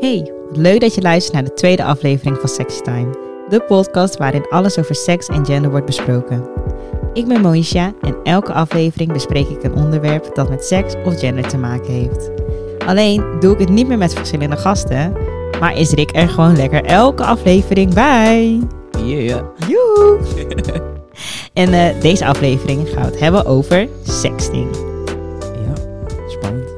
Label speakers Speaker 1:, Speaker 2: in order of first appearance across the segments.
Speaker 1: Hey, wat leuk dat je luistert naar de tweede aflevering van Sexy Time, de podcast waarin alles over seks en gender wordt besproken. Ik ben Moisha en elke aflevering bespreek ik een onderwerp dat met seks of gender te maken heeft. Alleen doe ik het niet meer met verschillende gasten, maar is Rick er gewoon lekker elke aflevering bij.
Speaker 2: Yeah.
Speaker 1: Joehoe! en eh, deze aflevering gaan we het hebben over sexting.
Speaker 2: Ja, spannend.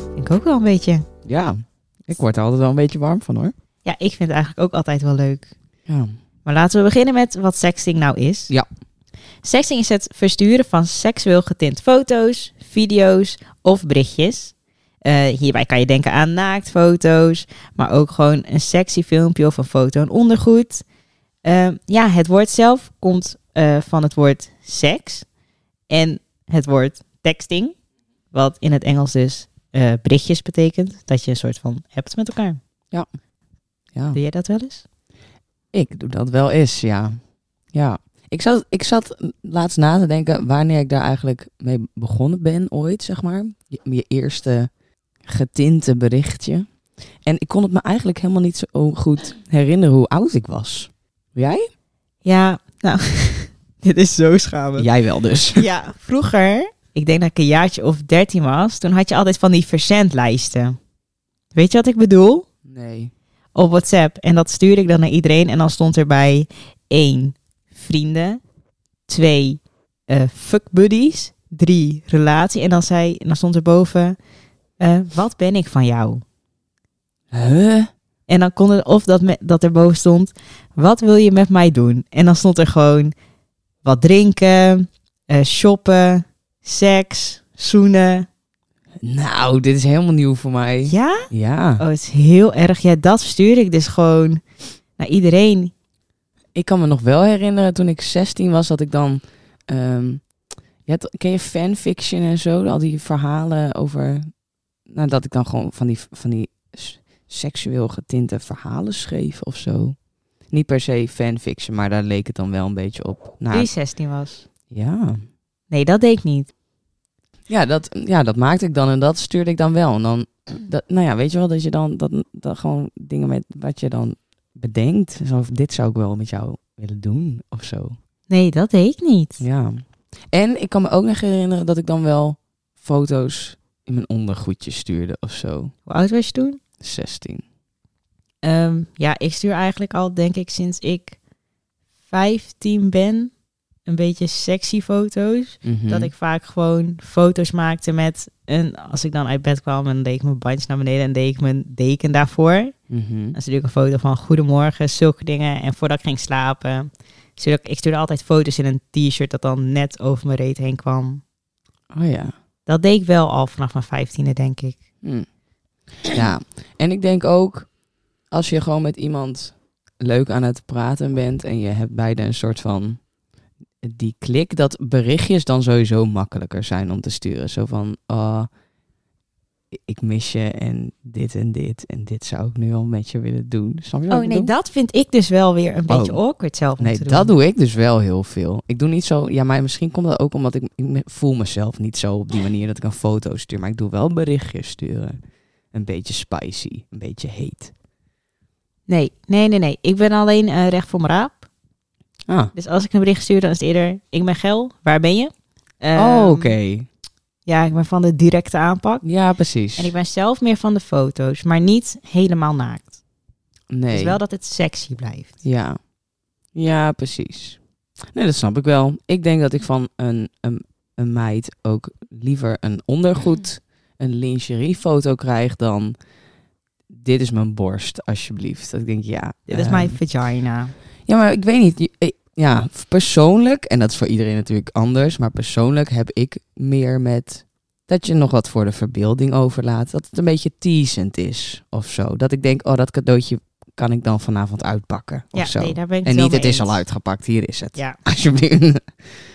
Speaker 1: Vind ik ook wel een beetje.
Speaker 2: Ja, ik word er altijd wel een beetje warm van hoor.
Speaker 1: Ja, ik vind het eigenlijk ook altijd wel leuk.
Speaker 2: Ja.
Speaker 1: Maar laten we beginnen met wat sexting nou is.
Speaker 2: Ja.
Speaker 1: Sexting is het versturen van seksueel getint foto's, video's of berichtjes. Eh, hierbij kan je denken aan naaktfoto's, maar ook gewoon een sexy filmpje of een foto en ondergoed. Eh, ja, het woord zelf komt eh, van het woord seks en het woord texting, wat in het Engels dus eh, berichtjes betekent, dat je een soort van hebt met elkaar.
Speaker 2: ja.
Speaker 1: Doe jij dat wel eens?
Speaker 2: Ik doe dat wel eens, ja. Ja. Ik zat, ik zat laatst na te denken wanneer ik daar eigenlijk mee begonnen ben ooit, zeg maar. Je, je eerste getinte berichtje. En ik kon het me eigenlijk helemaal niet zo goed herinneren hoe oud ik was. Jij?
Speaker 1: Ja, nou, dit is zo schamend.
Speaker 2: Jij wel dus.
Speaker 1: Ja, vroeger, ik denk dat ik een jaartje of dertien was, toen had je altijd van die verzendlijsten. Weet je wat ik bedoel?
Speaker 2: Nee.
Speaker 1: Op WhatsApp. En dat stuurde ik dan naar iedereen. En dan stond erbij 1. Vrienden. 2. fuck fuckbuddies. 3. Relatie. En dan, zei, en dan stond erboven, eh wat ben ik van jou?
Speaker 2: Huh?
Speaker 1: En dan kon er, of dat, me, dat erboven stond, wat wil je met mij doen? En dan stond er gewoon wat drinken, eh, shoppen, seks, zoenen.
Speaker 2: Nou, dit is helemaal nieuw voor mij.
Speaker 1: Ja?
Speaker 2: Ja.
Speaker 1: Oh, het is heel erg. Ja, dat stuur ik dus gewoon naar iedereen.
Speaker 2: Ik kan me nog wel herinneren toen ik 16 was dat ik dan. ehm, je hebt, ken je fanfiction en zo? Al die verhalen over. Nou, dat ik dan gewoon van die, van die s- seksueel getinte verhalen schreef of zo. Niet per se fanfiction, maar daar leek het dan wel een beetje op.
Speaker 1: Toen je
Speaker 2: Nou,
Speaker 1: 16 was.
Speaker 2: ja.
Speaker 1: Nee, dat deed ik niet.
Speaker 2: Ja dat, ja, dat maakte ik dan en dat stuurde ik dan wel. En dan, dat, nou ja, weet je wel, dat je dan dat, dat gewoon dingen met wat je dan bedenkt. Zo, van, dit zou ik wel met jou willen doen of zo.
Speaker 1: Nee, dat deed ik niet.
Speaker 2: Ja. En ik kan me ook nog herinneren dat ik dan wel foto's in mijn ondergoedje stuurde of zo.
Speaker 1: Hoe oud was je toen?
Speaker 2: 16.
Speaker 1: Ehm, ja, ik stuur eigenlijk al, denk ik, sinds ik 15 ben, een beetje sexy foto's.
Speaker 2: Mhm.
Speaker 1: Dat ik vaak gewoon foto's maakte met een. Als ik dan uit bed kwam, en deed ik mijn bandje naar beneden en deed ik mijn deken daarvoor.
Speaker 2: Mhm.
Speaker 1: Dan stuurde ik een foto van goedemorgen, zulke dingen. En voordat ik ging slapen, stuurde ik, ik stuurde altijd foto's in een t-shirt dat dan net over mijn reet heen kwam.
Speaker 2: Oh ja.
Speaker 1: Dat deed ik wel al vanaf mijn vijftiende, denk ik.
Speaker 2: Hm. Ja. En ik denk ook, als je gewoon met iemand leuk aan het praten bent en je hebt beide een soort van die klik, dat berichtjes dan sowieso makkelijker zijn om te sturen. Zo van, ah, ik mis je en dit en dit en dit zou ik nu al met je willen doen. Snap je wat
Speaker 1: Oh
Speaker 2: ik
Speaker 1: nee,
Speaker 2: bedoel?
Speaker 1: dat vind ik dus wel weer een
Speaker 2: Oh.
Speaker 1: beetje awkward zelf. om
Speaker 2: Nee,
Speaker 1: te doen.
Speaker 2: dat doe ik dus wel heel veel. Ik doe niet zo. Ja, maar misschien komt dat ook omdat ik, ik me- voel mezelf niet zo op die manier dat ik een foto stuur. Maar ik doe wel berichtjes sturen. Een beetje spicy, een beetje heet.
Speaker 1: Nee, nee, nee, nee. Ik ben alleen eh, recht voor mijn raap.
Speaker 2: Ah.
Speaker 1: Dus als ik een bericht stuur, dan is het eerder: Ik ben Gel, waar ben je?
Speaker 2: oh,
Speaker 1: Ehm,
Speaker 2: oké.
Speaker 1: Ja, ik ben van de directe aanpak.
Speaker 2: Ja, precies.
Speaker 1: En ik ben zelf meer van de foto's, maar niet helemaal naakt.
Speaker 2: nee.
Speaker 1: Dus wel dat het sexy blijft.
Speaker 2: Ja. Ja, precies. Nee, dat snap ik wel. Ik denk dat ik van een, een, een meid ook liever een ondergoed, een lingeriefoto krijg dan... Dit is mijn borst, alsjeblieft. Dat ik denk, ja.
Speaker 1: Dit is
Speaker 2: ehm,
Speaker 1: mijn vagina.
Speaker 2: Ja, maar ik weet niet. Je- eh, Ja, persoonlijk, en dat is voor iedereen natuurlijk anders, maar persoonlijk heb ik meer met dat je nog wat voor de verbeelding overlaat. Dat het een beetje teasend is of zo. Dat ik denk, oh, dat cadeautje kan ik dan vanavond uitpakken
Speaker 1: Ja,
Speaker 2: of zo.
Speaker 1: nee, daar ben ik
Speaker 2: en
Speaker 1: wel
Speaker 2: niet,
Speaker 1: mee
Speaker 2: het is
Speaker 1: eens.
Speaker 2: al uitgepakt, hier is het.
Speaker 1: Ja,
Speaker 2: Alsjeblieft.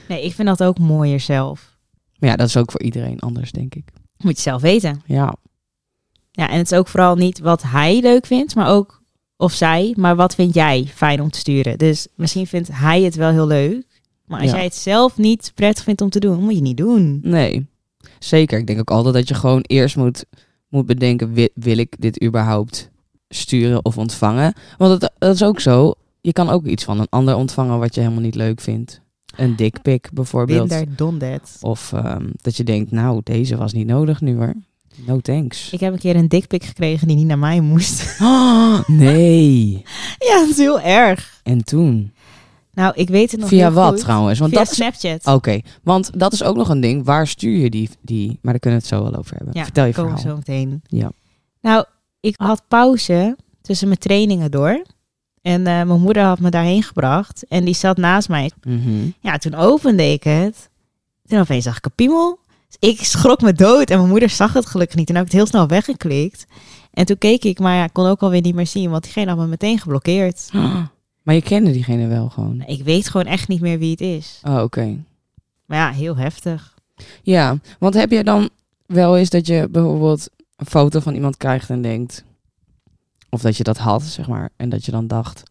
Speaker 1: nee, ik vind dat ook mooier zelf.
Speaker 2: Maar ja, dat is ook voor iedereen anders, denk ik.
Speaker 1: Moet je zelf weten.
Speaker 2: Ja,
Speaker 1: Ja, en het is ook vooral niet wat hij leuk vindt, maar ook of zij, maar wat vind jij fijn om te sturen. Dus misschien vindt hij het wel heel leuk, maar als
Speaker 2: Ja.
Speaker 1: jij het zelf niet prettig vindt om te doen, moet je het niet doen.
Speaker 2: nee. Zeker. Ik denk ook altijd dat je gewoon eerst moet, moet bedenken, wi- wil ik dit überhaupt sturen of ontvangen. Want dat, dat is ook zo. Je kan ook iets van een ander ontvangen wat je helemaal niet leuk vindt. Een dikpik bijvoorbeeld.
Speaker 1: Binder, don that.
Speaker 2: Of ehm, dat je denkt, nou, deze was niet nodig nu hoor. No thanks.
Speaker 1: Ik heb een keer een dikpik gekregen die niet naar mij moest.
Speaker 2: Oh, nee.
Speaker 1: ja, dat is heel erg.
Speaker 2: En toen?
Speaker 1: Nou, ik weet het nog
Speaker 2: Via
Speaker 1: heel
Speaker 2: wat
Speaker 1: goed.
Speaker 2: trouwens? Want
Speaker 1: Via
Speaker 2: dat is... Oh,
Speaker 1: Snapchat.
Speaker 2: Oké, want dat is ook nog een ding. Waar stuur je die? die... Maar daar kunnen we het zo wel over hebben.
Speaker 1: Ja,
Speaker 2: Vertel je
Speaker 1: komen
Speaker 2: verhaal.
Speaker 1: we zo meteen.
Speaker 2: Ja.
Speaker 1: Nou, ik had pauze tussen mijn trainingen door. En eh, mijn moeder had me daarheen gebracht. En die zat naast mij.
Speaker 2: Mhm.
Speaker 1: Ja, toen opende ik het. Toen opeens zag ik een piemel. Dus ik schrok me dood en mijn moeder zag het gelukkig niet. En heb ik het heel snel weggeklikt. En toen keek ik, maar ja, ik kon ook alweer niet meer zien, want diegene had me meteen geblokkeerd.
Speaker 2: Maar je kende diegene wel gewoon.
Speaker 1: Ik weet gewoon echt niet meer wie het is.
Speaker 2: Oh, oké.
Speaker 1: Maar ja, heel heftig.
Speaker 2: Ja, want heb je dan wel eens dat je bijvoorbeeld een foto van iemand krijgt en denkt... Of dat je dat had, zeg maar. En dat je dan dacht...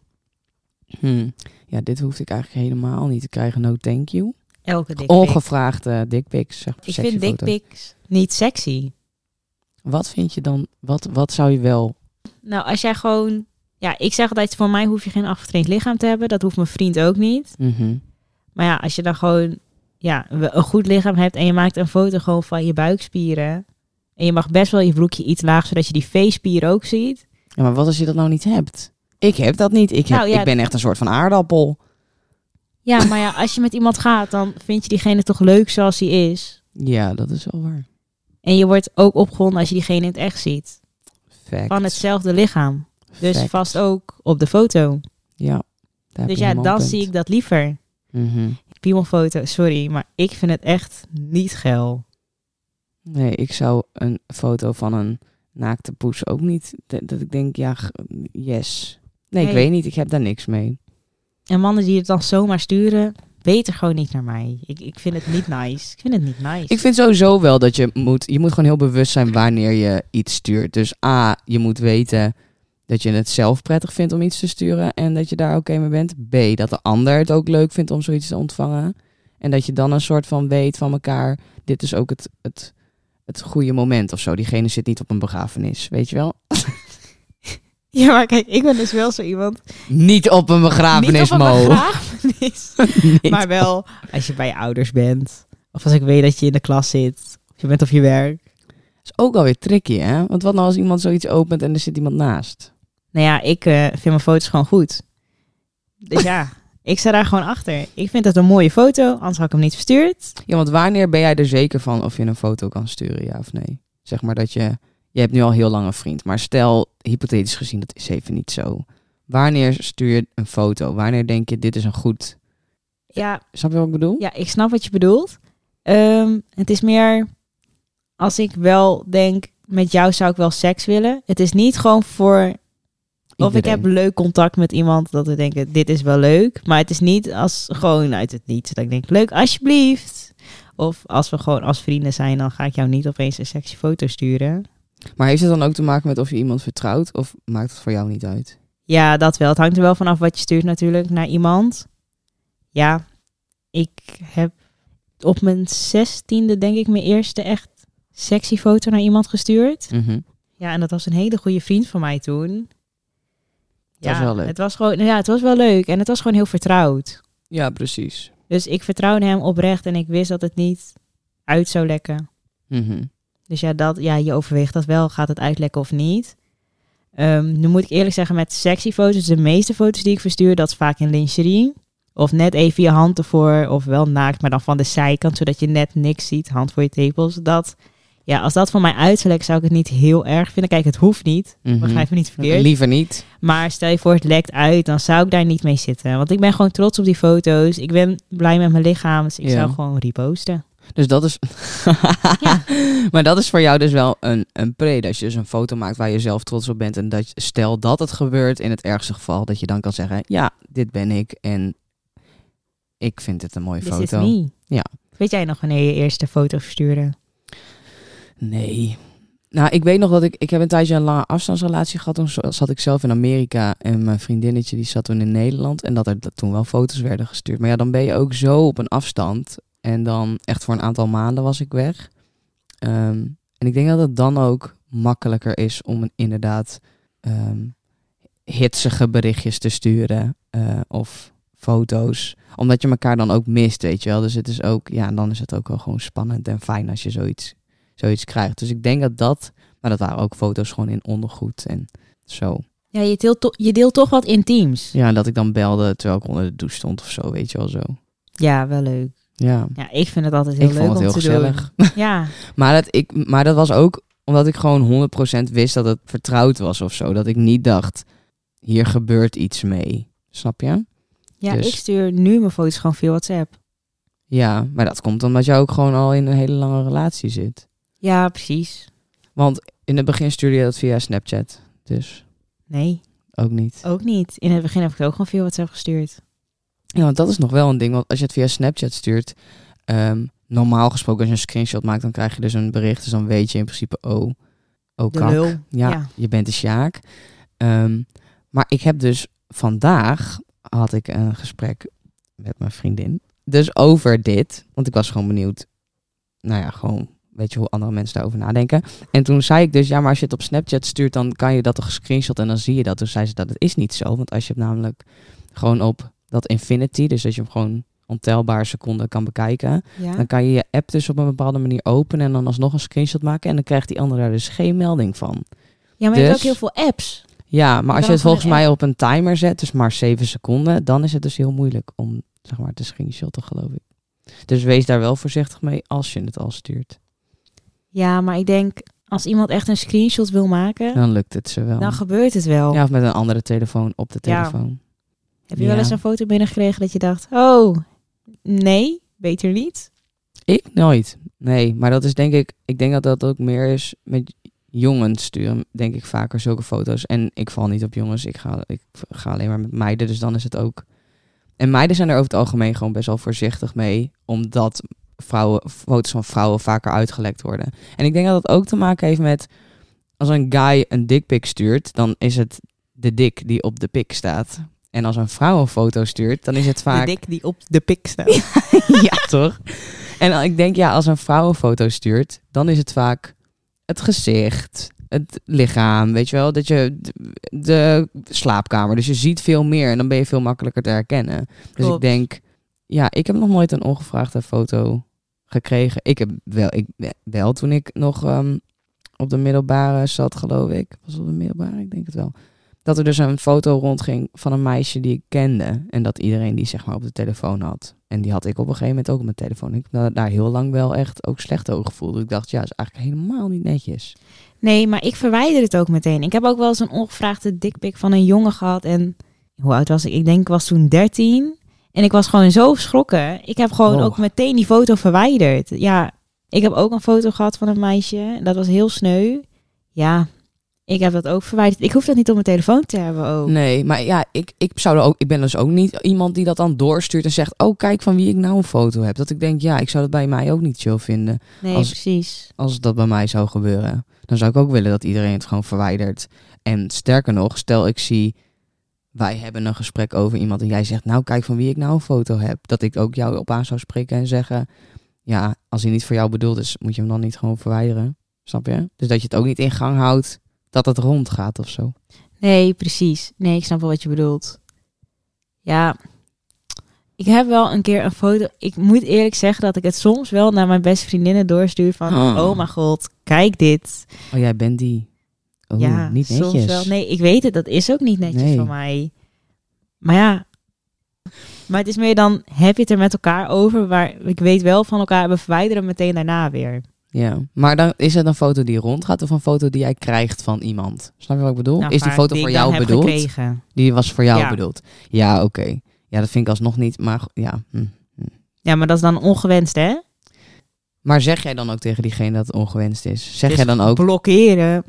Speaker 2: Hmm, ja, dit hoefde ik eigenlijk helemaal niet te krijgen. No thank you.
Speaker 1: Elke dikpik.
Speaker 2: Ongevraagde dickpics, zeg maar.
Speaker 1: Ik
Speaker 2: sexy
Speaker 1: vind
Speaker 2: foto's.
Speaker 1: dikpiks niet sexy.
Speaker 2: Wat vind je dan... Wat, wat zou je wel...
Speaker 1: Nou, als jij gewoon... Ja, ik zeg altijd, voor mij hoef je geen afgetraind lichaam te hebben. Dat hoeft mijn vriend ook niet.
Speaker 2: Mhm.
Speaker 1: Maar ja, als je dan gewoon ja, een een goed lichaam hebt... en je maakt een foto gewoon van je buikspieren... en je mag best wel je broekje iets laag... zodat je die V-spier ook ziet.
Speaker 2: Ja, maar wat als je dat nou niet hebt? Ik heb dat niet. Ik, heb,
Speaker 1: Nou, ja,
Speaker 2: ik ben echt een soort van aardappel.
Speaker 1: Ja, maar ja, als je met iemand gaat... dan vind je diegene toch leuk zoals hij is.
Speaker 2: Ja, dat is wel waar.
Speaker 1: En je wordt ook opgewonden als je diegene in het echt ziet.
Speaker 2: Fact.
Speaker 1: Van hetzelfde lichaam. Dus
Speaker 2: Fact.
Speaker 1: vast ook op de foto.
Speaker 2: Ja. daar heb
Speaker 1: Dus
Speaker 2: je
Speaker 1: ja,
Speaker 2: helemaal
Speaker 1: dan
Speaker 2: een
Speaker 1: zie
Speaker 2: punt.
Speaker 1: ik dat liever.
Speaker 2: Mhm.
Speaker 1: Piemelfoto, sorry, maar ik vind het echt niet geil.
Speaker 2: Nee, ik zou een foto van een naakte poes ook niet. Dat, dat ik denk, ja, g- yes. Nee, ik
Speaker 1: Nee.
Speaker 2: weet niet. Ik heb daar niks mee.
Speaker 1: En mannen die het dan zomaar sturen, weten gewoon niet naar mij. Ik, ik vind het niet nice. Ik vind het niet nice.
Speaker 2: Ik vind sowieso wel dat je moet. Je moet gewoon heel bewust zijn wanneer je iets stuurt. Dus A, je moet weten dat je het zelf prettig vindt om iets te sturen. En dat je daar oké mee bent. B, dat de ander het ook leuk vindt om zoiets te ontvangen. En dat je dan een soort van weet van elkaar. Dit is ook het, het, het goede moment of zo. Diegene zit niet op een begrafenis. Weet je wel?
Speaker 1: Ja, maar kijk, ik ben dus wel zo iemand.
Speaker 2: Niet op een begrafenis,
Speaker 1: niet op
Speaker 2: Mo.
Speaker 1: een begrafenis,
Speaker 2: Niet
Speaker 1: maar wel als je bij je ouders bent. Of als ik weet dat je in de klas zit. Of je bent op je werk.
Speaker 2: is ook alweer tricky, hè? Want wat nou als iemand zoiets opent en er zit iemand naast?
Speaker 1: Nou ja, ik eh, vind mijn foto's gewoon goed. Dus ja, ik sta daar gewoon achter. Ik vind dat een mooie foto, anders had ik hem niet verstuurd.
Speaker 2: Ja, want wanneer ben jij er zeker van of je een foto kan sturen, ja of nee? Zeg maar dat je... Je hebt nu al heel lang een vriend, maar stel, hypothetisch gezien, dat is even niet zo. Wanneer stuur je een foto? Wanneer denk je, dit is een goed...
Speaker 1: Ja,
Speaker 2: Snap je wat ik bedoel?
Speaker 1: Hm? Ja, ik snap wat je bedoelt. Ehm, het is meer als ik wel denk, met jou zou ik wel seks willen. Het is niet gewoon voor. Of ik
Speaker 2: Iedereen.
Speaker 1: heb leuk contact met iemand dat we denken, dit is wel leuk. Maar het is niet als gewoon uit het niets. Dat ik denk, leuk, alsjeblieft. Of als we gewoon als vrienden zijn, dan ga ik jou niet opeens een sexy foto sturen.
Speaker 2: Maar heeft het dan ook te maken met of je iemand vertrouwt? Of maakt het voor jou niet uit?
Speaker 1: Ja, dat wel. Het hangt er wel vanaf wat je stuurt natuurlijk naar iemand. Ja, ik heb op mijn zestiende denk ik mijn eerste echt sexy foto naar iemand gestuurd. Ja, en dat was een hele goede vriend van mij toen.
Speaker 2: Dat was wel leuk.
Speaker 1: Het was gewoon, nou ja, het was wel leuk en het was gewoon heel vertrouwd.
Speaker 2: Ja, precies.
Speaker 1: Dus ik vertrouwde hem oprecht en ik wist dat het niet uit zou lekken.
Speaker 2: Mhm.
Speaker 1: Dus ja, dat, ja, je overweegt dat wel. Gaat het uitlekken of niet? Ehm, nu moet ik eerlijk zeggen, met sexy foto's, dus de meeste foto's die ik verstuur, dat is vaak in lingerie. Of net even je hand ervoor, of wel naakt, maar dan van de zijkant, zodat je net niks ziet, hand voor je tepels. Dat, ja, als dat van mij uitlekt, zou ik het niet heel erg vinden. Kijk, het hoeft niet,
Speaker 2: Mhm.
Speaker 1: begrijp me niet verkeerd.
Speaker 2: Liever niet.
Speaker 1: Maar stel je voor, het lekt uit, dan zou ik daar niet mee zitten. Want ik ben gewoon trots op die foto's. Ik ben blij met mijn lichaam, dus ik
Speaker 2: Ja.
Speaker 1: zou gewoon reposten.
Speaker 2: Dus dat is.
Speaker 1: Ja.
Speaker 2: Maar dat is voor jou dus wel een, een pre. Dat je dus een foto maakt waar je zelf trots op bent. En dat je- stel dat het gebeurt in het ergste geval, dat je dan kan zeggen: Ja, dit ben ik. En ik vind het een mooie
Speaker 1: This is
Speaker 2: foto.
Speaker 1: me.
Speaker 2: Ja.
Speaker 1: Weet jij nog wanneer je eerste foto verstuurde?
Speaker 2: Nee. Nou, ik weet nog dat ik. Ik heb een tijdje een lange afstandsrelatie gehad. Toen zo- zat ik zelf in Amerika. En mijn vriendinnetje die zat toen in Nederland. En dat er dat toen wel foto's werden gestuurd. Maar ja, dan ben je ook zo op een afstand. En dan echt voor een aantal maanden was ik weg. Ehm, en ik denk dat het dan ook makkelijker is om een, inderdaad ehm, hitsige berichtjes te sturen eh, of foto's. Omdat je elkaar dan ook mist, weet je wel. Dus het is ook, ja, en dan is het ook wel gewoon spannend en fijn als je zoiets, zoiets krijgt. Dus ik denk dat dat, maar dat waren ook foto's gewoon in ondergoed en zo.
Speaker 1: Ja, je deelt, to- je deelt toch wat intiems.
Speaker 2: Ja, en dat ik dan belde terwijl ik onder de douche stond of zo, weet je wel zo.
Speaker 1: Ja, wel leuk.
Speaker 2: Ja,
Speaker 1: Ja, ik vind het altijd heel
Speaker 2: ik
Speaker 1: leuk
Speaker 2: vond
Speaker 1: om
Speaker 2: het heel
Speaker 1: te
Speaker 2: gezellig.
Speaker 1: doen. Ja,
Speaker 2: Maar dat, ik, maar dat was ook omdat ik gewoon 100% wist dat het vertrouwd was of zo. Dat ik niet dacht, hier gebeurt iets mee. Snap je?
Speaker 1: ja
Speaker 2: Dus-
Speaker 1: ik stuur nu mijn foto's gewoon via WhatsApp.
Speaker 2: Ja, maar dat komt omdat jij ook gewoon al in een hele lange relatie zit.
Speaker 1: Ja, precies.
Speaker 2: Want in het begin stuurde je dat via Snapchat. Dus
Speaker 1: Nee,
Speaker 2: ook niet.
Speaker 1: ook niet. In het begin heb ik het ook gewoon via WhatsApp gestuurd.
Speaker 2: Ja, want dat is nog wel een ding. Want als je het via Snapchat stuurt, ehm, normaal gesproken als je een screenshot maakt, dan krijg je dus een bericht. Dus dan weet je in principe, oh, oh
Speaker 1: De
Speaker 2: kak.
Speaker 1: lul.
Speaker 2: Ja,
Speaker 1: Ja.
Speaker 2: je bent de Sjaak. Ehm, maar ik heb dus vandaag had ik een gesprek met mijn vriendin. Dus over dit. Want ik was gewoon benieuwd. Nou ja, gewoon weet je hoe andere mensen daarover nadenken. En toen zei ik dus, ja, maar als je het op Snapchat stuurt, dan kan je dat toch screenshot en dan zie je dat. Toen zei ze dat het is niet zo. Want als je het namelijk gewoon op dat infinity, dus dat je hem gewoon ontelbare seconden kan bekijken,
Speaker 1: Ja.
Speaker 2: dan kan je je app dus op een bepaalde manier openen en dan alsnog een screenshot maken. En dan krijgt die ander daar dus geen melding van.
Speaker 1: ja, maar je hebt
Speaker 2: dus-
Speaker 1: ook heel veel apps.
Speaker 2: Ja, maar
Speaker 1: kan
Speaker 2: als je
Speaker 1: ook
Speaker 2: het volgens
Speaker 1: gewoon een
Speaker 2: mij op een timer zet, dus maar 7 seconden, dan is het dus heel moeilijk om zeg maar te screenshotten, geloof ik. Dus wees daar wel voorzichtig mee als je het al stuurt.
Speaker 1: Ja, maar ik denk, als iemand echt een screenshot wil maken,
Speaker 2: Dan lukt het ze wel.
Speaker 1: dan gebeurt het wel.
Speaker 2: Ja, of met een andere telefoon op de
Speaker 1: Ja.
Speaker 2: telefoon.
Speaker 1: Heb je wel eens
Speaker 2: Ja.
Speaker 1: een foto binnengekregen dat je dacht, oh, nee, beter niet?
Speaker 2: Ik nooit. Nee, maar dat is denk ik. Ik denk dat dat ook meer is met jongens sturen. Denk ik vaker zulke foto's. En ik val niet op jongens. Ik ga, ik ga alleen maar met meiden. Dus dan is het ook. En meiden zijn er over het algemeen gewoon best wel voorzichtig mee. Omdat vrouwen, foto's van vrouwen vaker uitgelekt worden. En ik denk dat dat ook te maken heeft met. Als een guy een dikpik stuurt, dan is het de dik die op de pik staat. En als een vrouw een foto stuurt, dan is het vaak
Speaker 1: dik die op de pik staat.
Speaker 2: ja, toch? En ik denk, ja, als een vrouw een foto stuurt, dan is het vaak het gezicht, het lichaam, weet je wel, dat je de, de slaapkamer. Dus je ziet veel meer en dan ben je veel makkelijker te herkennen. Dus
Speaker 1: Klopt.
Speaker 2: ik denk, ja, ik heb nog nooit een ongevraagde foto gekregen. Ik heb wel, ik, wel toen ik nog ehm, op de middelbare zat, geloof ik. Was het op de middelbare? Ik denk het wel. Dat er dus een foto rondging van een meisje die ik kende. En dat iedereen die zeg maar op de telefoon had. En die had ik op een gegeven moment ook op mijn telefoon. Ik heb da- daar heel lang wel echt ook slecht over gevoeld. Ik dacht, ja, is eigenlijk helemaal niet netjes.
Speaker 1: Nee, maar ik verwijder het ook meteen. Ik heb ook wel eens een ongevraagde dikpik van een jongen gehad. En hoe oud was ik? Ik denk ik was toen 13. En ik was gewoon zo geschrokken. Ik heb gewoon
Speaker 2: Wow.
Speaker 1: ook meteen die foto verwijderd. Ja, ik heb ook een foto gehad van een meisje. Dat was heel sneu. Ja, ik heb dat ook verwijderd. Ik hoef dat niet op mijn telefoon te hebben ook.
Speaker 2: Nee, maar ja, ik, ik, zou er ook, ik ben dus ook niet iemand die dat dan doorstuurt en zegt... oh, kijk van wie ik nou een foto heb. Dat ik denk, ja, ik zou dat bij mij ook niet chill vinden.
Speaker 1: Nee,
Speaker 2: Als-
Speaker 1: precies.
Speaker 2: als dat bij mij zou gebeuren, dan zou ik ook willen dat iedereen het gewoon verwijdert. En sterker nog, stel ik zie, wij hebben een gesprek over iemand en jij zegt, nou kijk van wie ik nou een foto heb. Dat ik ook jou op aan zou spreken en zeggen, ja, als hij niet voor jou bedoeld is, moet je hem dan niet gewoon verwijderen. Snap je? Dus dat je het ook niet in gang houdt, dat het rond gaat of zo.
Speaker 1: Nee, precies. Nee, ik snap wel wat je bedoelt. Ja, ik heb wel een keer een foto. Ik moet eerlijk zeggen dat ik het soms wel naar mijn beste vriendinnen doorstuur van,
Speaker 2: Oh.
Speaker 1: oh, mijn god, kijk dit.
Speaker 2: Oh, jij bent die. Oh,
Speaker 1: ja,
Speaker 2: niet netjes.
Speaker 1: soms wel. Nee, ik weet het. Dat is ook niet netjes
Speaker 2: Nee.
Speaker 1: van mij. Maar ja. Maar het is meer dan, heb je het er met elkaar over? Maar ik weet wel van elkaar, we verwijderen meteen daarna weer.
Speaker 2: Ja, maar dan is het een foto die rondgaat of een foto die jij krijgt van iemand? Snap je wat ik bedoel?
Speaker 1: Nou,
Speaker 2: is die
Speaker 1: vaak
Speaker 2: foto
Speaker 1: ik
Speaker 2: voor
Speaker 1: dan
Speaker 2: jou
Speaker 1: heb
Speaker 2: bedoeld?
Speaker 1: gekregen.
Speaker 2: Die was voor jou
Speaker 1: Ja.
Speaker 2: bedoeld. Ja, oké. Ja, dat vind ik alsnog niet, maar go- ja. hm.
Speaker 1: Ja, maar dat is dan ongewenst, hè?
Speaker 2: Maar zeg jij dan ook tegen diegene dat het ongewenst is? Zeg
Speaker 1: Dus
Speaker 2: jij dan ook...
Speaker 1: Blokkeren.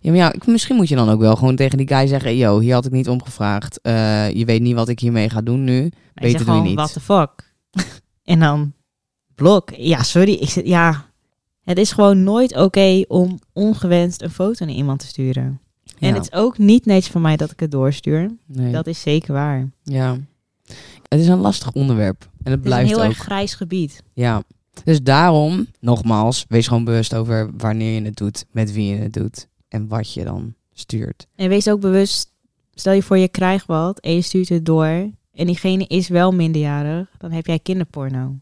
Speaker 2: Ja, maar ja, ik- misschien moet je dan ook wel gewoon tegen die guy zeggen... Yo, hier had ik niet om gevraagd. Eh, je weet niet wat ik hiermee ga doen nu.
Speaker 1: Hij
Speaker 2: Beter
Speaker 1: zegt
Speaker 2: doe je
Speaker 1: gewoon,
Speaker 2: niet.
Speaker 1: what the fuck? en dan blok. Ja, sorry. Ik zit, ja. Het is gewoon nooit oké om ongewenst een foto naar iemand te sturen.
Speaker 2: Ja.
Speaker 1: En het is ook niet netjes van mij dat ik het doorstuur.
Speaker 2: Nee.
Speaker 1: Dat is zeker waar. Het
Speaker 2: Ja. Het is een lastig onderwerp. En het
Speaker 1: is een
Speaker 2: blijft
Speaker 1: heel
Speaker 2: ook.
Speaker 1: erg grijs gebied.
Speaker 2: Ja. Dus daarom, nogmaals, wees gewoon bewust over wanneer je het doet, met wie je het doet en wat je dan stuurt.
Speaker 1: En wees ook bewust, stel je voor je krijgt wat en je stuurt het door. En diegene is wel minderjarig, dan heb jij kinderporno.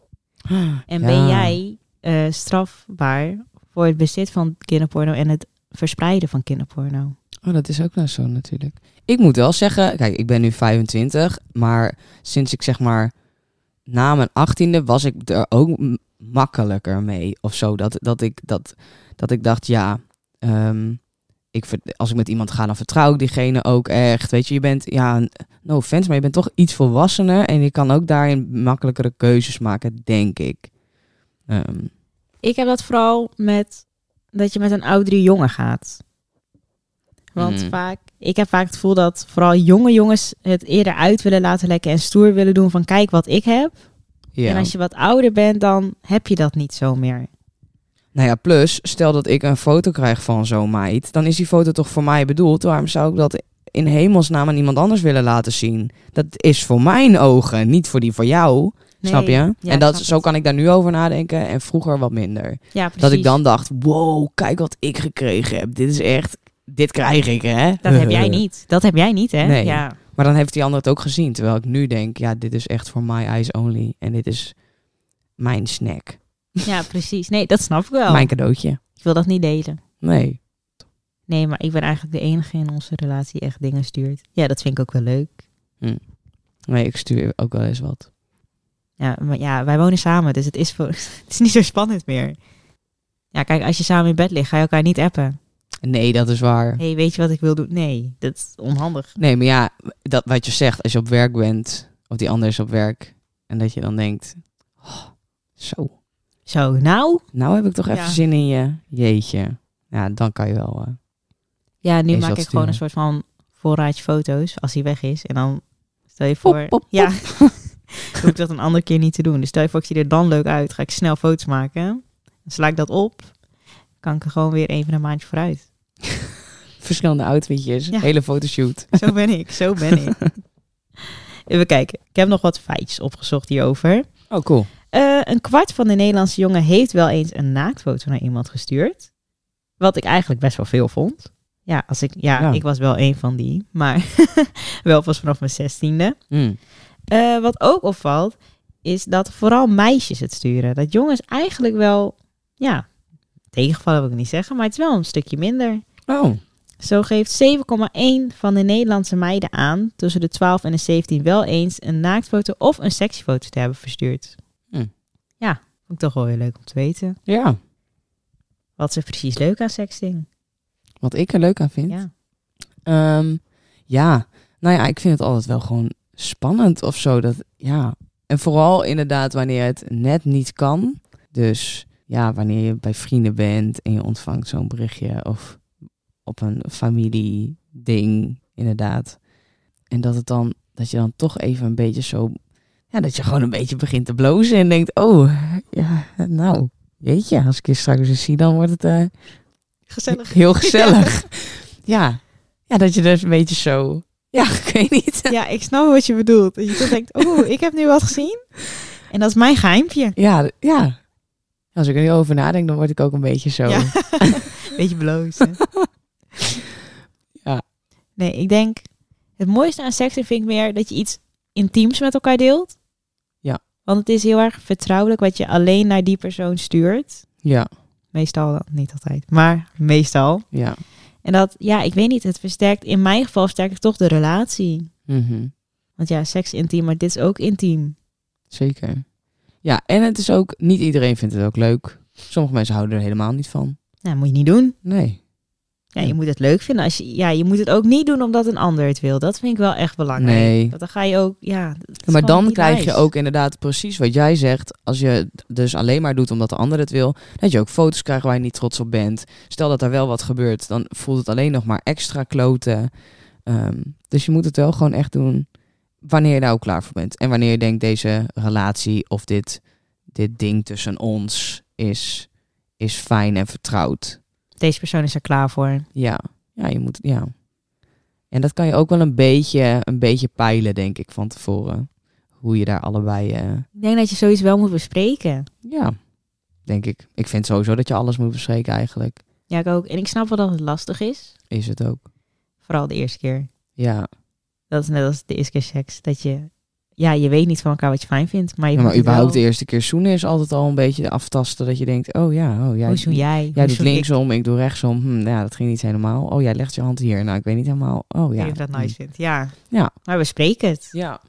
Speaker 1: En ben
Speaker 2: Ja.
Speaker 1: jij eh, strafbaar voor het bezit van kinderporno en het verspreiden van kinderporno?
Speaker 2: Oh, dat is ook nou zo natuurlijk. Ik moet wel zeggen, kijk, ik ben nu 25, maar sinds ik zeg maar na mijn 18e was ik er ook m- makkelijker mee of zo. Dat, dat, ik, dat, dat ik dacht, ja, ehm, ik, ver- als ik met iemand ga, dan vertrouw ik diegene ook echt. Weet je, je bent, ja, n- no offense, maar je bent toch iets volwassener en je kan ook daarin makkelijkere keuzes maken, denk ik. Ehm,
Speaker 1: Ik heb dat vooral met dat je met een oudere jongen gaat. Want
Speaker 2: Mm.
Speaker 1: vaak, ik heb vaak het gevoel dat vooral jonge jongens het eerder uit willen laten lekken en stoer willen doen van kijk wat ik heb.
Speaker 2: ja.
Speaker 1: En als je wat ouder bent, dan heb je dat niet zo meer.
Speaker 2: Nou ja, plus, stel dat ik een foto krijg van zo'n meid, dan is die foto toch voor mij bedoeld. Waarom zou ik dat in hemelsnaam aan iemand anders willen laten zien? Dat is voor mijn ogen, niet voor die van jou. snap
Speaker 1: Nee,
Speaker 2: je?
Speaker 1: ja,
Speaker 2: en
Speaker 1: ik
Speaker 2: dat,
Speaker 1: snap
Speaker 2: zo
Speaker 1: het.
Speaker 2: kan ik daar nu over nadenken en vroeger wat minder.
Speaker 1: Ja, precies.
Speaker 2: Dat ik dan dacht, wow, kijk wat ik gekregen heb. Dit is echt, dit krijg ik hè.
Speaker 1: Dat heb jij niet. Dat heb jij niet, hè?
Speaker 2: Nee.
Speaker 1: Ja.
Speaker 2: Maar dan heeft die ander het ook gezien. Terwijl ik nu denk, ja, dit is echt voor my eyes only. En dit is mijn snack,
Speaker 1: ja, precies. Nee, dat snap ik wel.
Speaker 2: mijn cadeautje.
Speaker 1: Ik wil dat niet delen.
Speaker 2: Nee.
Speaker 1: Nee, maar ik ben eigenlijk de enige in onze relatie die echt dingen stuurt. Ja, dat vind ik ook wel leuk.
Speaker 2: nee, ik stuur ook wel eens wat.
Speaker 1: Ja, maar ja, wij wonen samen, dus het is, voor, het is niet zo spannend meer. Ja, kijk, als je samen in bed ligt, ga je elkaar niet appen.
Speaker 2: Nee, dat is waar.
Speaker 1: hey, weet je wat ik wil doen? Nee, dat is onhandig.
Speaker 2: Nee, maar ja, dat, wat je zegt, als je op werk bent, of die ander is op werk, en dat je dan denkt, oh, zo,
Speaker 1: Zo, nou?
Speaker 2: nou heb ik toch even
Speaker 1: Ja.
Speaker 2: zin in je, jeetje. Ja, dan kan je wel. eh.
Speaker 1: Ja, nu
Speaker 2: Eens
Speaker 1: maak ik
Speaker 2: wat
Speaker 1: gewoon een
Speaker 2: sturen.
Speaker 1: soort van voorraadje foto's als hij weg is. En dan stel je voor...
Speaker 2: Pop, pop, pop.
Speaker 1: Ja, hoef ik dat een andere keer niet te doen. Dus stel je voor, ik zie er dan leuk uit. Ga ik snel foto's maken. Dan sla ik dat op. Kan ik er gewoon weer even een maandje vooruit.
Speaker 2: Verschillende outfitjes,
Speaker 1: Ja.
Speaker 2: hele fotoshoot.
Speaker 1: Zo ben ik, zo ben ik. Even kijken. Ik heb nog wat feitjes opgezocht hierover.
Speaker 2: Oh, cool.
Speaker 1: Eh, een kwart van de Nederlandse jongen heeft wel eens een naaktfoto naar iemand gestuurd. Wat ik eigenlijk best wel veel vond. Ja, als ik, ja,
Speaker 2: Ja.
Speaker 1: ik was wel een van die. Maar wel pas vanaf mijn zestiende.
Speaker 2: Mm.
Speaker 1: Eh, wat ook opvalt, is dat vooral meisjes het sturen. Dat jongens eigenlijk wel, ja, tegenvallen wil ik niet zeggen, maar het is wel een stukje minder.
Speaker 2: Oh,
Speaker 1: Zo geeft 7,1 van de Nederlandse meiden aan tussen de 12 en de 17 wel eens een naaktfoto of een seksfoto te hebben verstuurd.
Speaker 2: Hm.
Speaker 1: Ja, vond ik toch wel weer leuk om te weten.
Speaker 2: ja.
Speaker 1: Wat ze precies leuk aan sexting.
Speaker 2: Wat ik er leuk aan vind.
Speaker 1: Ja.
Speaker 2: Ehm, ja, nou ja, ik vind het altijd wel gewoon spannend of zo. Dat, ja. En vooral inderdaad wanneer het net niet kan. Dus ja, wanneer je bij vrienden bent en je ontvangt zo'n berichtje of op een familieding, inderdaad. En dat het dan, dat je dan toch even een beetje zo, ja, dat je gewoon een beetje begint te blozen en denkt, oh, ja, nou, weet je, als ik je straks eens zie, dan wordt het eh,
Speaker 1: Gezellig.
Speaker 2: Heel gezellig. ja. ja, dat je dus een beetje zo... Ja, ik weet niet.
Speaker 1: Ja, ik snap wat je bedoelt. Dat je toch denkt, oeh, ik heb nu wat gezien. En dat is mijn geheimpje.
Speaker 2: Ja, d- ja. Als ik er nu over nadenk, dan word ik ook een beetje zo...
Speaker 1: Ja. Beetje blozen.
Speaker 2: Ja.
Speaker 1: Nee, ik denk, het mooiste aan seksen vind ik meer dat je iets intiems met elkaar deelt.
Speaker 2: Ja.
Speaker 1: Want het is heel erg vertrouwelijk wat je alleen naar die persoon stuurt.
Speaker 2: Ja,
Speaker 1: Meestal dan, niet altijd, maar meestal.
Speaker 2: ja.
Speaker 1: En dat, ja, ik weet niet, het versterkt, in mijn geval versterkt het toch de relatie.
Speaker 2: Mhm.
Speaker 1: Want ja, seks is intiem, maar dit is ook intiem.
Speaker 2: Zeker. Ja, en het is ook... Niet iedereen vindt het ook leuk. Sommige mensen houden er helemaal niet van.
Speaker 1: Nou, moet je niet doen.
Speaker 2: Nee.
Speaker 1: Ja, je moet het leuk vinden. Als je, ja, je moet het ook niet doen omdat een ander het wil. Dat vind ik wel echt belangrijk.
Speaker 2: Ah, Nee.
Speaker 1: Want dan ga je ook, ja. dat is
Speaker 2: maar
Speaker 1: gewoon
Speaker 2: dan
Speaker 1: niet
Speaker 2: krijg je
Speaker 1: nice.
Speaker 2: ook inderdaad precies wat jij zegt. Als je het dus alleen maar doet omdat de ander het wil. Dat je ook foto's krijgt waar je niet trots op bent. Stel dat er wel wat gebeurt, dan voelt het alleen nog maar extra kloten. Ehm, dus je moet het wel gewoon echt doen wanneer je daar ook klaar voor bent. En wanneer je denkt deze relatie of dit, dit ding tussen ons is, is fijn en vertrouwd.
Speaker 1: Deze persoon is er klaar voor.
Speaker 2: Ja, ja, je moet, ja. En dat kan je ook wel een beetje, een beetje peilen, denk ik, van tevoren. Hoe je daar allebei... eh,
Speaker 1: Ik denk dat je zoiets wel moet bespreken.
Speaker 2: Ja, denk ik. Ik vind sowieso dat je alles moet bespreken eigenlijk.
Speaker 1: Ja, ik ook. En ik snap wel dat het lastig is.
Speaker 2: Is het ook.
Speaker 1: Vooral de eerste keer.
Speaker 2: Ja,
Speaker 1: Dat is net als de eerste keer seks. Dat je, ja, je weet niet van elkaar wat je fijn vindt. Maar, je
Speaker 2: Ja, maar
Speaker 1: vindt het
Speaker 2: überhaupt de
Speaker 1: wel,
Speaker 2: eerste keer zoenen is altijd al een beetje aftasten. Dat je denkt, oh ja, oh ja.
Speaker 1: Hoe zoen jij?
Speaker 2: Jij
Speaker 1: Hoe
Speaker 2: doet
Speaker 1: zoen ik?
Speaker 2: linksom, ik. doe rechtsom. Hm, ja, dat ging niet helemaal. Oh, jij legt je hand hier. Nou, ik weet niet helemaal. Oh ja.
Speaker 1: Wie dat nice vindt, ja.
Speaker 2: Ja.
Speaker 1: Maar we spreken het.
Speaker 2: Ja.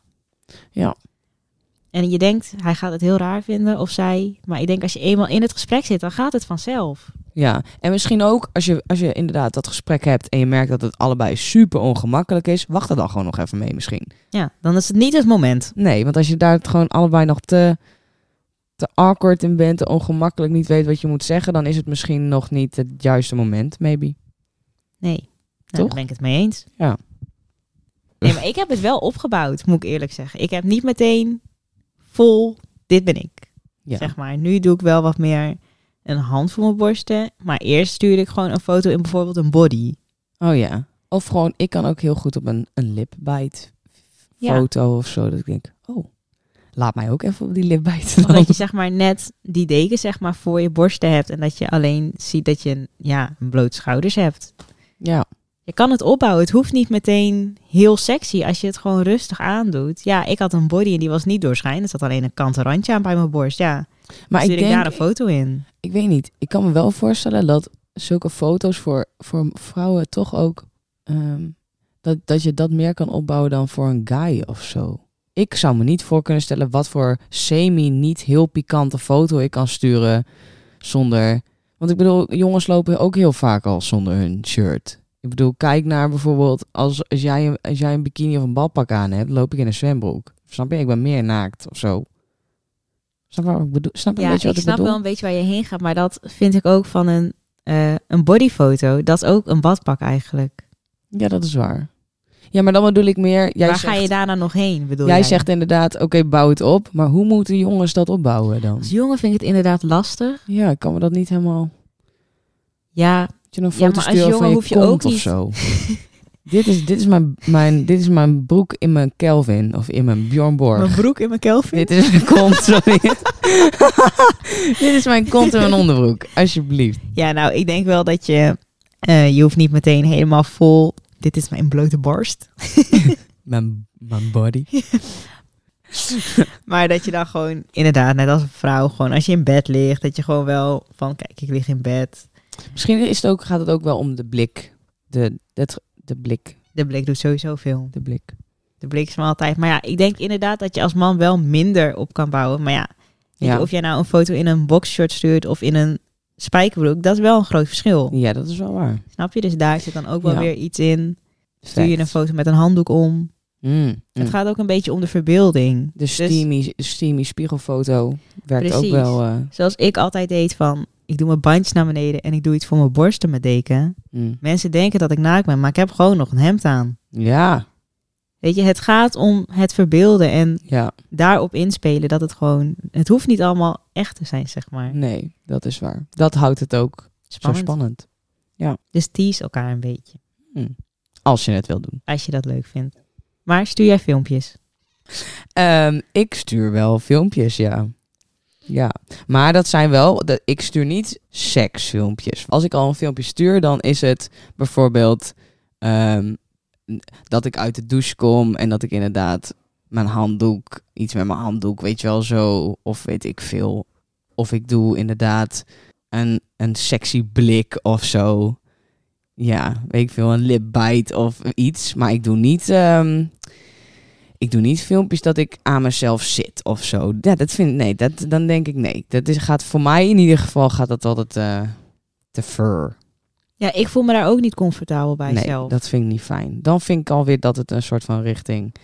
Speaker 1: En je denkt, hij gaat het heel raar vinden of zij. Maar ik denk, als je eenmaal in het gesprek zit, dan gaat het vanzelf.
Speaker 2: Ja, en misschien ook als je, als je inderdaad dat gesprek hebt en je merkt dat het allebei super ongemakkelijk is, wacht er dan gewoon nog even mee misschien.
Speaker 1: Ja, dan is het niet het moment.
Speaker 2: Nee, want als je daar het gewoon allebei nog te, te awkward in bent, te ongemakkelijk niet weet wat je moet zeggen, dan is het misschien nog niet het juiste moment, maybe.
Speaker 1: Nee. Nou,
Speaker 2: Toch?
Speaker 1: Daar ben ik het mee eens.
Speaker 2: Ja.
Speaker 1: Nee, maar ik heb het wel opgebouwd, moet ik eerlijk zeggen. Ik heb niet meteen vol, dit ben ik.
Speaker 2: Ja.
Speaker 1: Zeg maar, nu doe ik wel wat meer een hand voor mijn borsten. Maar eerst stuurde ik gewoon een foto in bijvoorbeeld een body.
Speaker 2: Oh ja. Of gewoon, ik kan ook heel goed op een, een lipbite
Speaker 1: Ja.
Speaker 2: foto of zo. Dat ik denk, oh, laat mij ook even op die lipbite
Speaker 1: Of
Speaker 2: dan.
Speaker 1: dat je zeg maar net die deken zeg maar voor je borsten hebt. En dat je alleen ziet dat je een, ja, een bloot schouders hebt.
Speaker 2: Ja,
Speaker 1: Je kan het opbouwen. Het hoeft niet meteen heel sexy als je het gewoon rustig aandoet. Ja, ik had een body en die was niet doorschijnend. Er zat alleen een kanten randje aan bij mijn borst. Ja,
Speaker 2: maar
Speaker 1: stuur
Speaker 2: ik
Speaker 1: ik, daar
Speaker 2: denk,
Speaker 1: een foto in.
Speaker 2: ik weet niet. Ik kan me wel voorstellen dat zulke foto's voor, voor vrouwen toch ook... ehm, dat, dat je dat meer kan opbouwen dan voor een guy of zo. Ik zou me niet voor kunnen stellen wat voor semi niet heel pikante foto ik kan sturen zonder... Want ik bedoel, jongens lopen ook heel vaak al zonder hun shirt. Ik bedoel, kijk naar bijvoorbeeld als, als, jij, een- als jij een bikini of een badpak aan hebt, loop ik in een zwembroek. Snap je? Ik ben meer naakt of zo. Snap je wat ik bedoel? Snap je
Speaker 1: Ja,
Speaker 2: een
Speaker 1: ik
Speaker 2: beetje wat ik,
Speaker 1: snap
Speaker 2: bedoel?
Speaker 1: wel een beetje waar je heen gaat. Maar dat vind ik ook van een, eh, een bodyfoto. Dat is ook een badpak eigenlijk.
Speaker 2: Ja, dat is waar. Ja, maar dan bedoel ik meer... Jij
Speaker 1: Waar
Speaker 2: zegt,
Speaker 1: ga je daarna nog heen, bedoel
Speaker 2: Jij zegt inderdaad, oké, bouw het op. Maar hoe moeten jongens dat opbouwen dan?
Speaker 1: Als jongen vind ik het inderdaad lastig.
Speaker 2: Ja, ik kan me dat niet helemaal...
Speaker 1: Ja,
Speaker 2: Dat je een
Speaker 1: Ja,
Speaker 2: foto
Speaker 1: maar als
Speaker 2: sturen van
Speaker 1: jongen
Speaker 2: je
Speaker 1: hoef je
Speaker 2: kont
Speaker 1: ook
Speaker 2: of
Speaker 1: niet-
Speaker 2: zo. dit, is, dit, is mijn, mijn, dit is mijn broek in mijn Kelvin of in mijn Bjorn Borg.
Speaker 1: mijn broek in mijn Kelvin.
Speaker 2: Dit is mijn kont, sorry. dit is mijn kont in mijn onderbroek, alsjeblieft.
Speaker 1: Ja, nou, ik denk wel dat je... eh, je hoeft niet meteen helemaal vol... Dit is mijn blote borst.
Speaker 2: Mijn, mijn body.
Speaker 1: Maar dat je dan gewoon, inderdaad, net als een vrouw, gewoon als je in bed ligt, dat je gewoon wel van, kijk, ik lig in bed.
Speaker 2: Misschien is het ook, gaat het ook wel om de blik. De, het, de blik.
Speaker 1: De blik doet sowieso veel.
Speaker 2: De blik.
Speaker 1: De blik is maar altijd. Maar ja, ik denk inderdaad dat je als man wel minder op kan bouwen. Maar ja, weet je,
Speaker 2: Ja.
Speaker 1: of jij nou een foto in een boxshort stuurt of in een spijkerbroek, dat is wel een groot verschil.
Speaker 2: ja, dat is wel waar.
Speaker 1: Snap je? Dus daar zit dan ook wel
Speaker 2: Ja.
Speaker 1: weer iets in. Stuur je een
Speaker 2: Facts.
Speaker 1: foto met een handdoek om.
Speaker 2: Mm, mm.
Speaker 1: Het gaat ook een beetje om de verbeelding.
Speaker 2: De steamy, steamy spiegelfoto werkt ook
Speaker 1: Precies.
Speaker 2: wel. eh,
Speaker 1: Zoals ik altijd deed van, ik doe mijn bandjes naar beneden en ik doe iets voor mijn borsten met deken.
Speaker 2: mm.
Speaker 1: Mensen denken dat ik naakt ben, maar ik heb gewoon nog een hemd aan.
Speaker 2: Ja,
Speaker 1: Weet je, het gaat om het verbeelden en
Speaker 2: ja,
Speaker 1: daarop inspelen dat het gewoon... Het hoeft niet allemaal echt te zijn, zeg maar.
Speaker 2: nee, dat is waar. Dat houdt het ook
Speaker 1: Spannend.
Speaker 2: zo spannend. Mm.
Speaker 1: Dus tease elkaar een beetje,
Speaker 2: Als je het wil doen.
Speaker 1: als je dat leuk vindt. Maar stuur jij filmpjes?
Speaker 2: Ehm, ik stuur wel filmpjes, ja. Ja, maar dat zijn wel, dat, ik stuur niet seksfilmpjes. Als ik al een filmpje stuur, dan is het bijvoorbeeld ehm, n- dat ik uit de douche kom en dat ik inderdaad mijn handdoek, iets met mijn handdoek, weet je wel zo, of weet ik veel. Of ik doe inderdaad een, een sexy blik of zo. Ja, weet ik veel, een lipbite of iets. Maar ik doe niet ehm, ik doe niet filmpjes dat ik aan mezelf zit of zo. Ja, dat vind nee, dat, dan denk ik nee. Dat is, gaat voor mij in ieder geval gaat dat altijd eh, te ver.
Speaker 1: Ja, ik voel me daar ook niet comfortabel bij
Speaker 2: nee,
Speaker 1: zelf.
Speaker 2: dat vind ik niet fijn. Dan vind ik alweer dat het een soort van richting,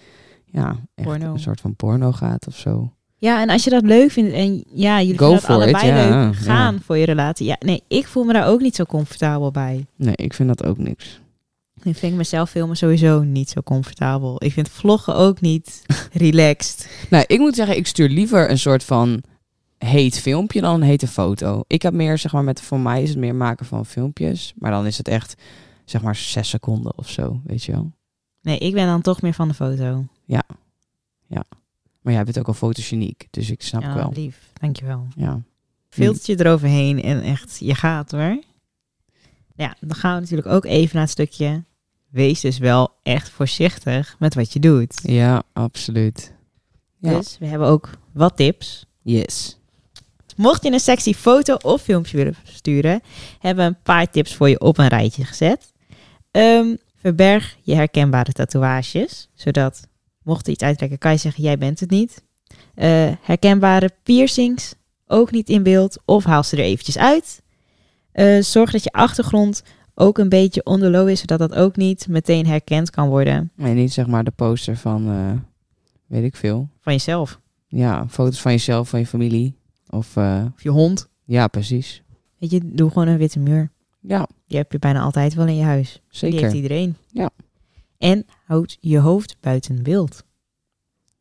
Speaker 2: ja, echt
Speaker 1: Porno.
Speaker 2: een soort van porno gaat of zo.
Speaker 1: Ja, en als je dat leuk vindt en ja, jullie
Speaker 2: Go
Speaker 1: vinden dat
Speaker 2: for it,
Speaker 1: allebei
Speaker 2: ja,
Speaker 1: leuk
Speaker 2: ja.
Speaker 1: gaan voor je relatie. Ja, nee, ik voel me daar ook niet zo comfortabel bij.
Speaker 2: Nee, ik vind dat ook niks.
Speaker 1: Ik vind mezelf filmen sowieso niet zo comfortabel. Ik vind vloggen ook niet relaxed.
Speaker 2: Nou, ik moet zeggen, ik stuur liever een soort van heet filmpje dan een hete foto. Ik heb meer, zeg maar, met voor mij is het meer maken van filmpjes, maar dan is het echt, zeg maar, zes seconden of zo, weet je wel.
Speaker 1: Nee, ik ben dan toch meer van de foto.
Speaker 2: Maar jij bent ook al fotogeniek, dus ik snap
Speaker 1: ja,
Speaker 2: wel.
Speaker 1: lief. Dankjewel.
Speaker 2: Ja.
Speaker 1: Filtertje eroverheen en echt, je gaat hoor. Ja, dan gaan we natuurlijk ook even naar het stukje wees dus wel echt voorzichtig met wat je doet.
Speaker 2: Ja, absoluut. Ja.
Speaker 1: Dus we hebben ook wat tips.
Speaker 2: Yes.
Speaker 1: Mocht je een sexy foto of filmpje willen sturen, hebben we een paar tips voor je op een rijtje gezet. Ehm, verberg je herkenbare tatoeages, zodat mocht er iets uittrekken, kan je zeggen jij bent het niet. Eh, herkenbare piercings, ook niet in beeld, of haal ze er eventjes uit. Eh, zorg dat je achtergrond ook een beetje on the low is, zodat dat ook niet meteen herkend kan worden
Speaker 2: En niet zeg maar de poster van, eh, weet ik veel.
Speaker 1: van jezelf
Speaker 2: Ja, foto's van jezelf, van je familie. Of, eh,
Speaker 1: of je hond.
Speaker 2: ja, precies.
Speaker 1: Weet je, doe gewoon een witte muur.
Speaker 2: Ja,
Speaker 1: Die heb je bijna altijd wel in je huis. Die heeft
Speaker 2: zeker.
Speaker 1: iedereen.
Speaker 2: Ja.
Speaker 1: En houd je hoofd buiten beeld.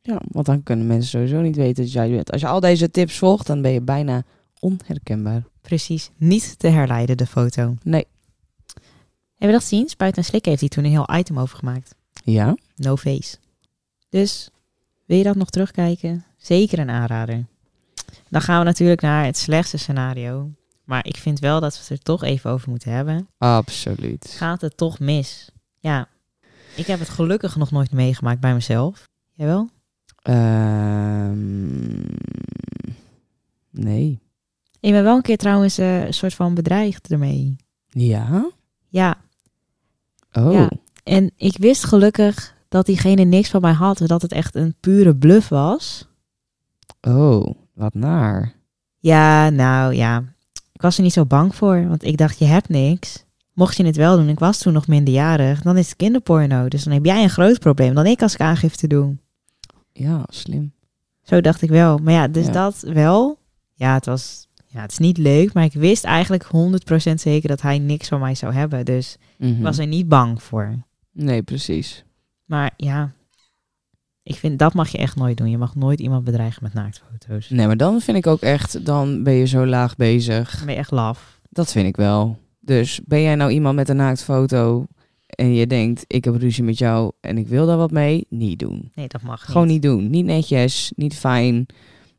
Speaker 2: Ja, want dan kunnen mensen sowieso niet weten dat jij het bent. Als je al deze tips volgt, dan ben je bijna onherkenbaar.
Speaker 1: Precies. Niet te herleiden, de foto. Hebben
Speaker 2: Nee.
Speaker 1: we dat gezien? Spuit en Slik heeft hier toen een heel item over gemaakt.
Speaker 2: Ja?
Speaker 1: No face. Dus wil je dat nog terugkijken? Zeker een aanrader. Dan gaan we natuurlijk naar het slechtste scenario. Maar ik vind wel dat we het er toch even over moeten hebben.
Speaker 2: Absoluut.
Speaker 1: Gaat het toch mis? Ja. Ik heb het gelukkig nog nooit meegemaakt bij mezelf. Jawel?
Speaker 2: Ehm, nee.
Speaker 1: Ik ben wel een keer trouwens eh, een soort van bedreigd ermee.
Speaker 2: Ja?
Speaker 1: Ja,
Speaker 2: Oh.
Speaker 1: Ja. En ik wist gelukkig dat diegene niks van mij had. Dat het echt een pure bluff was.
Speaker 2: Oh, wat naar.
Speaker 1: Ja, nou ja. Ik was er niet zo bang voor. Want ik dacht, je hebt niks. Mocht je het wel doen, ik was toen nog minderjarig. Dan is het kinderporno. Dus dan heb jij een groot probleem dan ik als ik aangifte doe.
Speaker 2: Ja, slim.
Speaker 1: Zo dacht ik wel. Maar ja, dus
Speaker 2: Ja.
Speaker 1: dat wel. Ja, het was... Ja, het is niet leuk, maar ik wist eigenlijk 100% zeker dat hij niks van mij zou hebben. Dus ik
Speaker 2: Hm.
Speaker 1: was er niet bang voor.
Speaker 2: Nee, precies.
Speaker 1: Maar ja, ik vind dat mag je echt nooit doen. Je mag nooit iemand bedreigen met naaktfoto's.
Speaker 2: Nee, maar dan vind ik ook echt, dan ben je zo laag bezig.
Speaker 1: Dan ben je echt laf.
Speaker 2: Dat vind ik wel. Dus ben jij nou iemand met een naaktfoto en je denkt, ik heb ruzie met jou en ik wil daar wat mee? Niet doen.
Speaker 1: Nee, dat mag
Speaker 2: Gewoon niet doen. Niet netjes, niet fijn.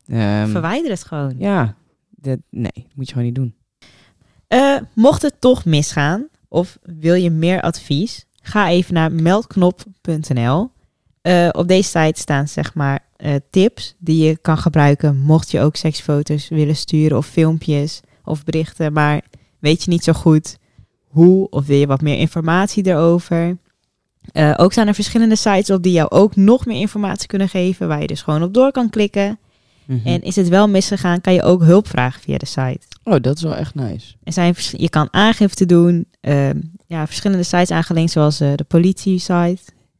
Speaker 2: Ehm,
Speaker 1: Verwijder het gewoon.
Speaker 2: ja, dat, nee, dat moet je gewoon niet doen.
Speaker 1: Eh, mocht het toch misgaan of wil je meer advies, ga even naar meldknop.nl. Eh, op deze site staan zeg maar eh, tips die je kan gebruiken mocht je ook seksfoto's willen sturen of filmpjes of berichten, maar weet je niet zo goed hoe of wil je wat meer informatie erover. Eh, ook staan er verschillende sites op die jou ook nog meer informatie kunnen geven, waar je dus gewoon op door kan klikken.
Speaker 2: Mhm.
Speaker 1: En is het wel misgegaan, kan je ook hulp vragen via de site.
Speaker 2: Oh, dat is wel echt nice.
Speaker 1: Er zijn, vers- je kan aangifte doen. ehm, ja, verschillende sites aangelinkt, zoals eh, de politie-site.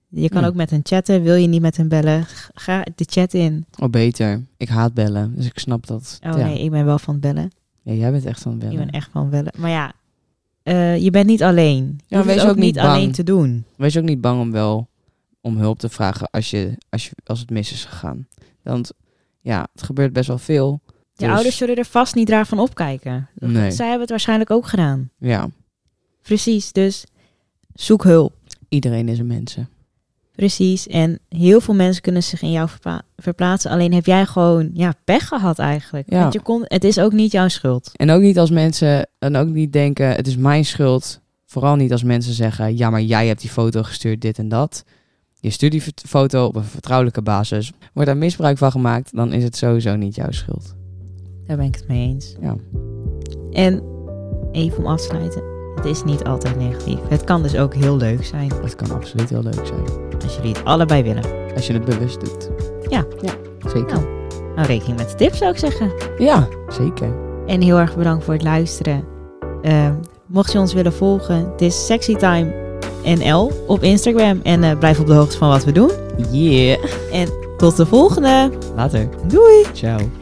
Speaker 1: Je kan
Speaker 2: Ja.
Speaker 1: ook met hen chatten. Wil je niet met hen bellen? g- Ga de chat in.
Speaker 2: Oh, beter. Ik haat bellen, dus ik snap dat.
Speaker 1: Oh
Speaker 2: ja.
Speaker 1: nee, ik ben wel van het bellen.
Speaker 2: Ja, jij bent echt van het
Speaker 1: Ik
Speaker 2: bellen.
Speaker 1: ben echt van bellen. Maar ja, eh, je bent niet alleen. Je
Speaker 2: Ja,
Speaker 1: hoeft
Speaker 2: wees
Speaker 1: het ook
Speaker 2: ook niet
Speaker 1: niet alleen
Speaker 2: bang.
Speaker 1: te doen.
Speaker 2: Wees ook niet bang om wel om hulp te vragen als, je, als, je, als het mis is gegaan. Want ja, het gebeurt best wel veel.
Speaker 1: Je
Speaker 2: Dus-
Speaker 1: ouders zullen er vast niet raar van opkijken.
Speaker 2: Nee.
Speaker 1: Zij hebben het waarschijnlijk ook gedaan.
Speaker 2: Ja,
Speaker 1: Precies, dus zoek hulp.
Speaker 2: iedereen is een mensen.
Speaker 1: Precies, en heel veel mensen kunnen zich in jou verpla- verplaatsen. Alleen heb jij gewoon ja, pech gehad eigenlijk.
Speaker 2: Ja.
Speaker 1: Want je kon, het is ook niet jouw schuld.
Speaker 2: En ook niet als mensen, en ook niet denken, het is mijn schuld. Vooral niet als mensen zeggen, ja, maar jij hebt die foto gestuurd, dit en dat. Je stuurt die vert- foto op een vertrouwelijke basis. Wordt daar misbruik van gemaakt, dan is het sowieso niet jouw schuld.
Speaker 1: Daar ben ik het mee eens.
Speaker 2: Ja.
Speaker 1: En even om af te sluiten. Het is niet altijd negatief. Het kan dus ook heel leuk zijn.
Speaker 2: Het kan absoluut heel leuk zijn.
Speaker 1: Als jullie het allebei willen.
Speaker 2: Als je het bewust doet.
Speaker 1: Ja.
Speaker 2: Ja, zeker.
Speaker 1: Nou. Nou, rekening met de tips zou ik zeggen.
Speaker 2: Ja, zeker.
Speaker 1: En heel erg bedankt voor het luisteren. Ehm, mocht je ons willen volgen, het is sexytime.nl op Instagram. En eh, blijf op de hoogte van wat we doen.
Speaker 2: Yeah.
Speaker 1: Tot de volgende.
Speaker 2: Later.
Speaker 1: Doei!
Speaker 2: Ciao.